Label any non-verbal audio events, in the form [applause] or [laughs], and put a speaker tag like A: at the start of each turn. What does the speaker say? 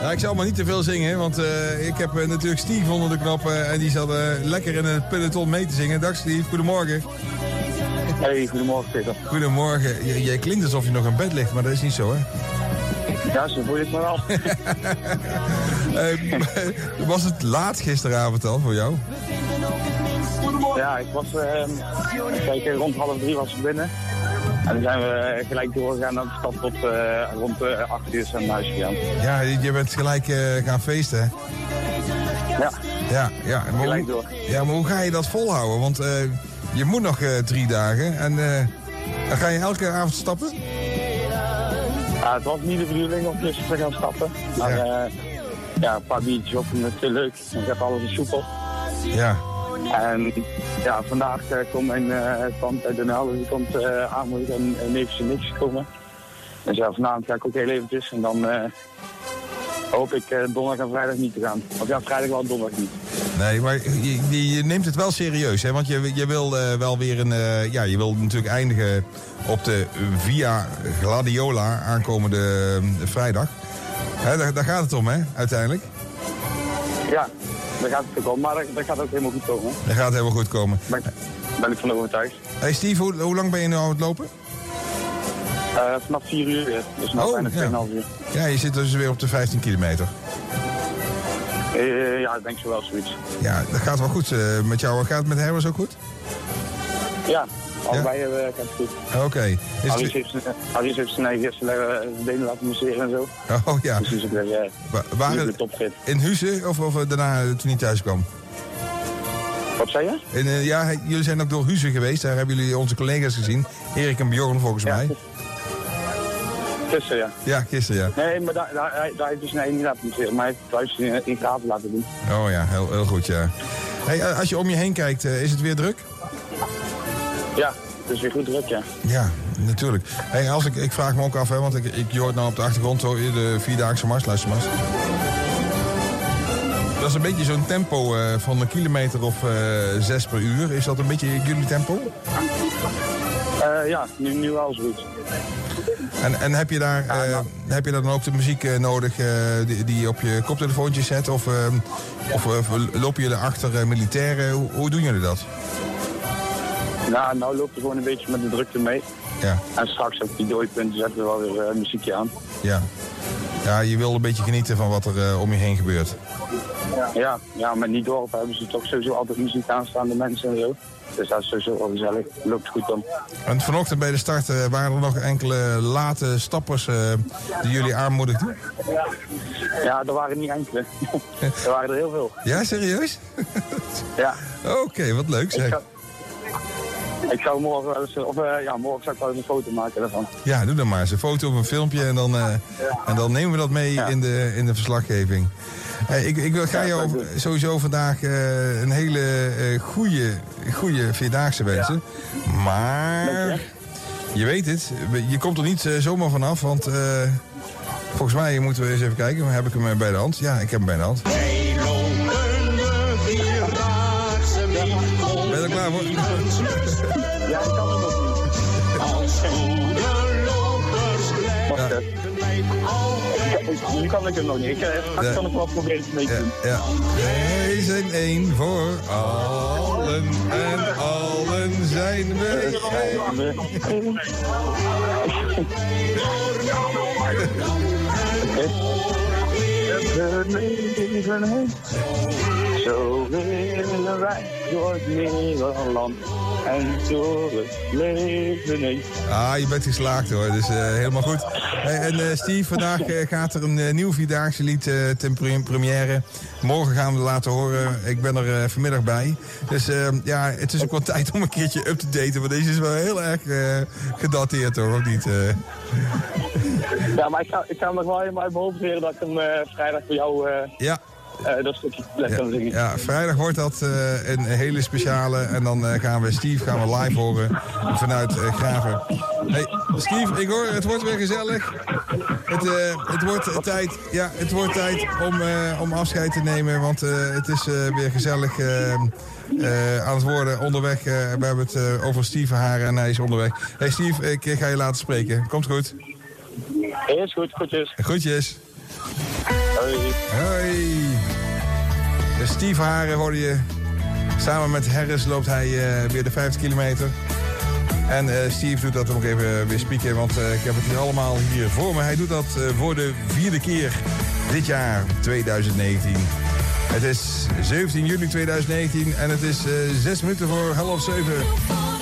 A: Nou, ik zal maar niet te veel zingen, want eh, ik heb eh, natuurlijk Steve onder de knop. eh, en die zat eh, lekker in het peloton mee te zingen. Dag Steve, goedemorgen.
B: Hey, goedemorgen Peter.
A: Goedemorgen. J- jij klinkt alsof je nog in bed ligt, maar dat is niet zo, hè?
B: Ja, zo voel je het maar af.
A: Eh, [laughs] was het laat gisteravond al voor jou?
B: Ja, ik was, ehm, kijk, eh, rond half drie was ik binnen. En dan zijn we eh, gelijk doorgegaan naar de stad tot eh, rond eh, acht uur zijn we naar huis gegaan.
A: Ja, je je bent gelijk eh, gaan feesten, hè?
B: Ja,
A: Ja, ja. Maar
B: Gelijk
A: hoe,
B: door.
A: ja, maar hoe ga je dat volhouden? Want eh, je moet nog eh, drie dagen en eh, dan ga je elke avond stappen?
B: Ja, eh, het was niet de bedoeling om tussen te gaan stappen. Maar
A: Ja.
B: eh, ja, een paar biertjes op en het is leuk. Ik heb alles in soepel.
A: Ja.
B: En ja, vandaag eh, komt mijn eh tante uit Den Helder, die komt eh aanmoedigen en en neefjes en niks komen. Dus ja, vanavond ga ik ook heel eventjes en dan eh, hoop ik eh, donderdag en vrijdag niet te gaan. Of ja, vrijdag wel, donderdag niet.
A: Nee, maar je, je- je neemt het wel serieus, hè? Want je, je wil eh, wel weer een... eh, ja, je wil natuurlijk eindigen op de Via Gladiola aankomende eh, vrijdag. Hè, daar, daar gaat het om, hè, uiteindelijk.
B: Ja, dat gaat het ook wel, maar dat, dat gaat ook helemaal goed komen.
A: Dat gaat helemaal goed komen.
B: Daar ben, ik- ben ik van overtuigd.
A: Hey Steve, hoe, hoe lang ben je nu aan het lopen?
B: Eh, vanaf 4 uur weer, dus nou
A: Oh,
B: bijna
A: ja.
B: 2,5 uur.
A: Ja, je zit dus weer op de 15 kilometer.
B: Eh, ja, ik denk zo wel zoiets.
A: Ja, dat gaat wel goed eh, met jou. Gaat het met Herbers ook goed?
B: Ja, allebei hebben gaat het goed.
A: Oké. Is
B: Aris
A: het-
B: heeft, zijn- Aris heeft zijn eigen gisteren eh, zijn benen laten masseren en zo.
A: Oh ja.
B: Dus die is ook weer eh,
A: Wa-
B: die is
A: Waren
B: weer topfit.
A: in Huizen of, of eh, daarna eh, toen hij thuis kwam?
B: Wat zei je?
A: En, eh, ja, hij- jullie zijn ook door Huizen geweest. Daar hebben jullie onze collega's gezien. Erik en Bjorn volgens
B: Ja.
A: mij.
B: Gisteren, ja.
A: Ja, gisteren
B: Nee, maar daar, daar, hij- daar heeft hij zijn eigen niet laten masseren, maar hij heeft thuis in, in kaart laten doen.
A: ja. Oh ja, heel, heel goed ja. Hey, eh, als je om je heen kijkt, eh, is het weer druk?
B: Ja, het is weer goed druk, ja.
A: Ja, natuurlijk. Hey, als ik, ik vraag me ook af, hè, want ik, ik je hoort nou op de achtergrond hoor je de vierdaagse mars, luistermars. Dat is een beetje zo'n tempo eh, van een kilometer of eh, zes per uur. Is dat een beetje jullie tempo?
B: Eh, ja, nu, nu wel zoiets.
A: En, en heb, je daar, eh,
B: nou.
A: heb je daar dan ook de muziek eh, nodig eh, die, die je op je koptelefoontje zet? Of, eh, of eh, lopen jullie achter eh, militairen? Hoe, hoe doen jullie dat?
B: Nou, nou loopt er gewoon een beetje met de drukte mee.
A: Ja,
B: En straks op die dooipunten zetten we wel weer eh, muziekje aan.
A: ja. ja, je wil een beetje genieten van wat er eh, om je heen gebeurt.
B: Ja, ja, maar niet dorp hebben ze toch sowieso altijd muziek aanstaande mensen en zo. Dus dat is sowieso wel gezellig. Loopt goed dan.
A: En vanochtend bij de start eh, waren er nog enkele late stappers eh, die jullie aanmoedigden.
B: Ja, er waren niet enkele. [laughs] er waren er heel veel.
A: Ja, serieus?
B: Ja,
A: Oké, wat leuk
B: ik
A: zeg.
B: ga... Ik zou morgen wel eens, of eh, ja, morgen zou ik wel eens een foto maken daarvan.
A: Ja, doe dan maar eens een foto of een filmpje en dan, eh, en dan nemen we dat mee
B: Ja.
A: in, de, in de verslaggeving. Hey, ik, ik wil, ga
B: Ja,
A: jou
B: dank u.
A: sowieso vandaag eh, een hele eh goede, goede Vierdaagse wensen. Maar
B: Dank
A: je weet het, je komt er niet eh, zomaar vanaf, want eh, volgens mij moeten we eens even kijken. Heb ik hem eh, bij de hand? Ja, ik heb hem bij de hand. Ben je er klaar voor?
B: Ja, ik kan het nog niet. Wacht
A: Ja.
B: even. Ik- ik- Nu kan ik hem nog niet. Ik, eh, straks
A: Ja.
B: kan ik wel proberen te
A: Ja,
B: doen.
A: ja. Wij zijn één voor allen en allen zijn we. één.
B: Zo willen wij door het Nederland en door het leven heen.
A: Ah, je bent geslaagd hoor, dus eh, helemaal goed. Hey, en eh, Steve, vandaag eh, gaat er een eh, nieuw Vierdaagse lied eh, ten pre- première. Morgen gaan we het laten horen. Ik ben er eh, vanmiddag bij. Dus eh, ja, het is ook wel [laughs] tijd om een keertje up te daten. Want deze is wel heel erg eh, gedateerd hoor, of niet? eh?
B: Ja, maar ik ga, ik ga hem nog wel helemaal uit mijn hoofd leren dat ik hem eh, vrijdag voor jou eh,
A: ja.
B: eh, dat stukje les
A: Ja,
B: kan zingen.
A: ja, vrijdag wordt dat eh, een hele speciale. En dan eh, gaan we Steve gaan we live horen vanuit eh, Graven. Hey, Steve, ik hoor, het wordt weer gezellig. Het, eh, het, wordt, eh, tijd, ja, het wordt tijd om, eh, om afscheid te nemen. Want eh, het is eh, weer gezellig eh, eh, aan het worden onderweg. eh, we hebben het eh, over Steve Haar en hij is onderweg. Hey Steve, ik eh, ga je laten spreken. Komt goed.
B: Is goed, goedjes.
A: Groetjes.
B: Hoi.
A: Hoi. De Steve Haren hoorde je. Samen met Harris loopt hij eh, weer de 50 kilometer. En eh, Steve doet dat ook even weer spieken, want eh, ik heb het hier allemaal hier voor me. Hij doet dat eh, voor de vierde keer dit jaar, 2019. Het is 17 juli 2019 en het is eh, zes minuten voor half zeven.
C: for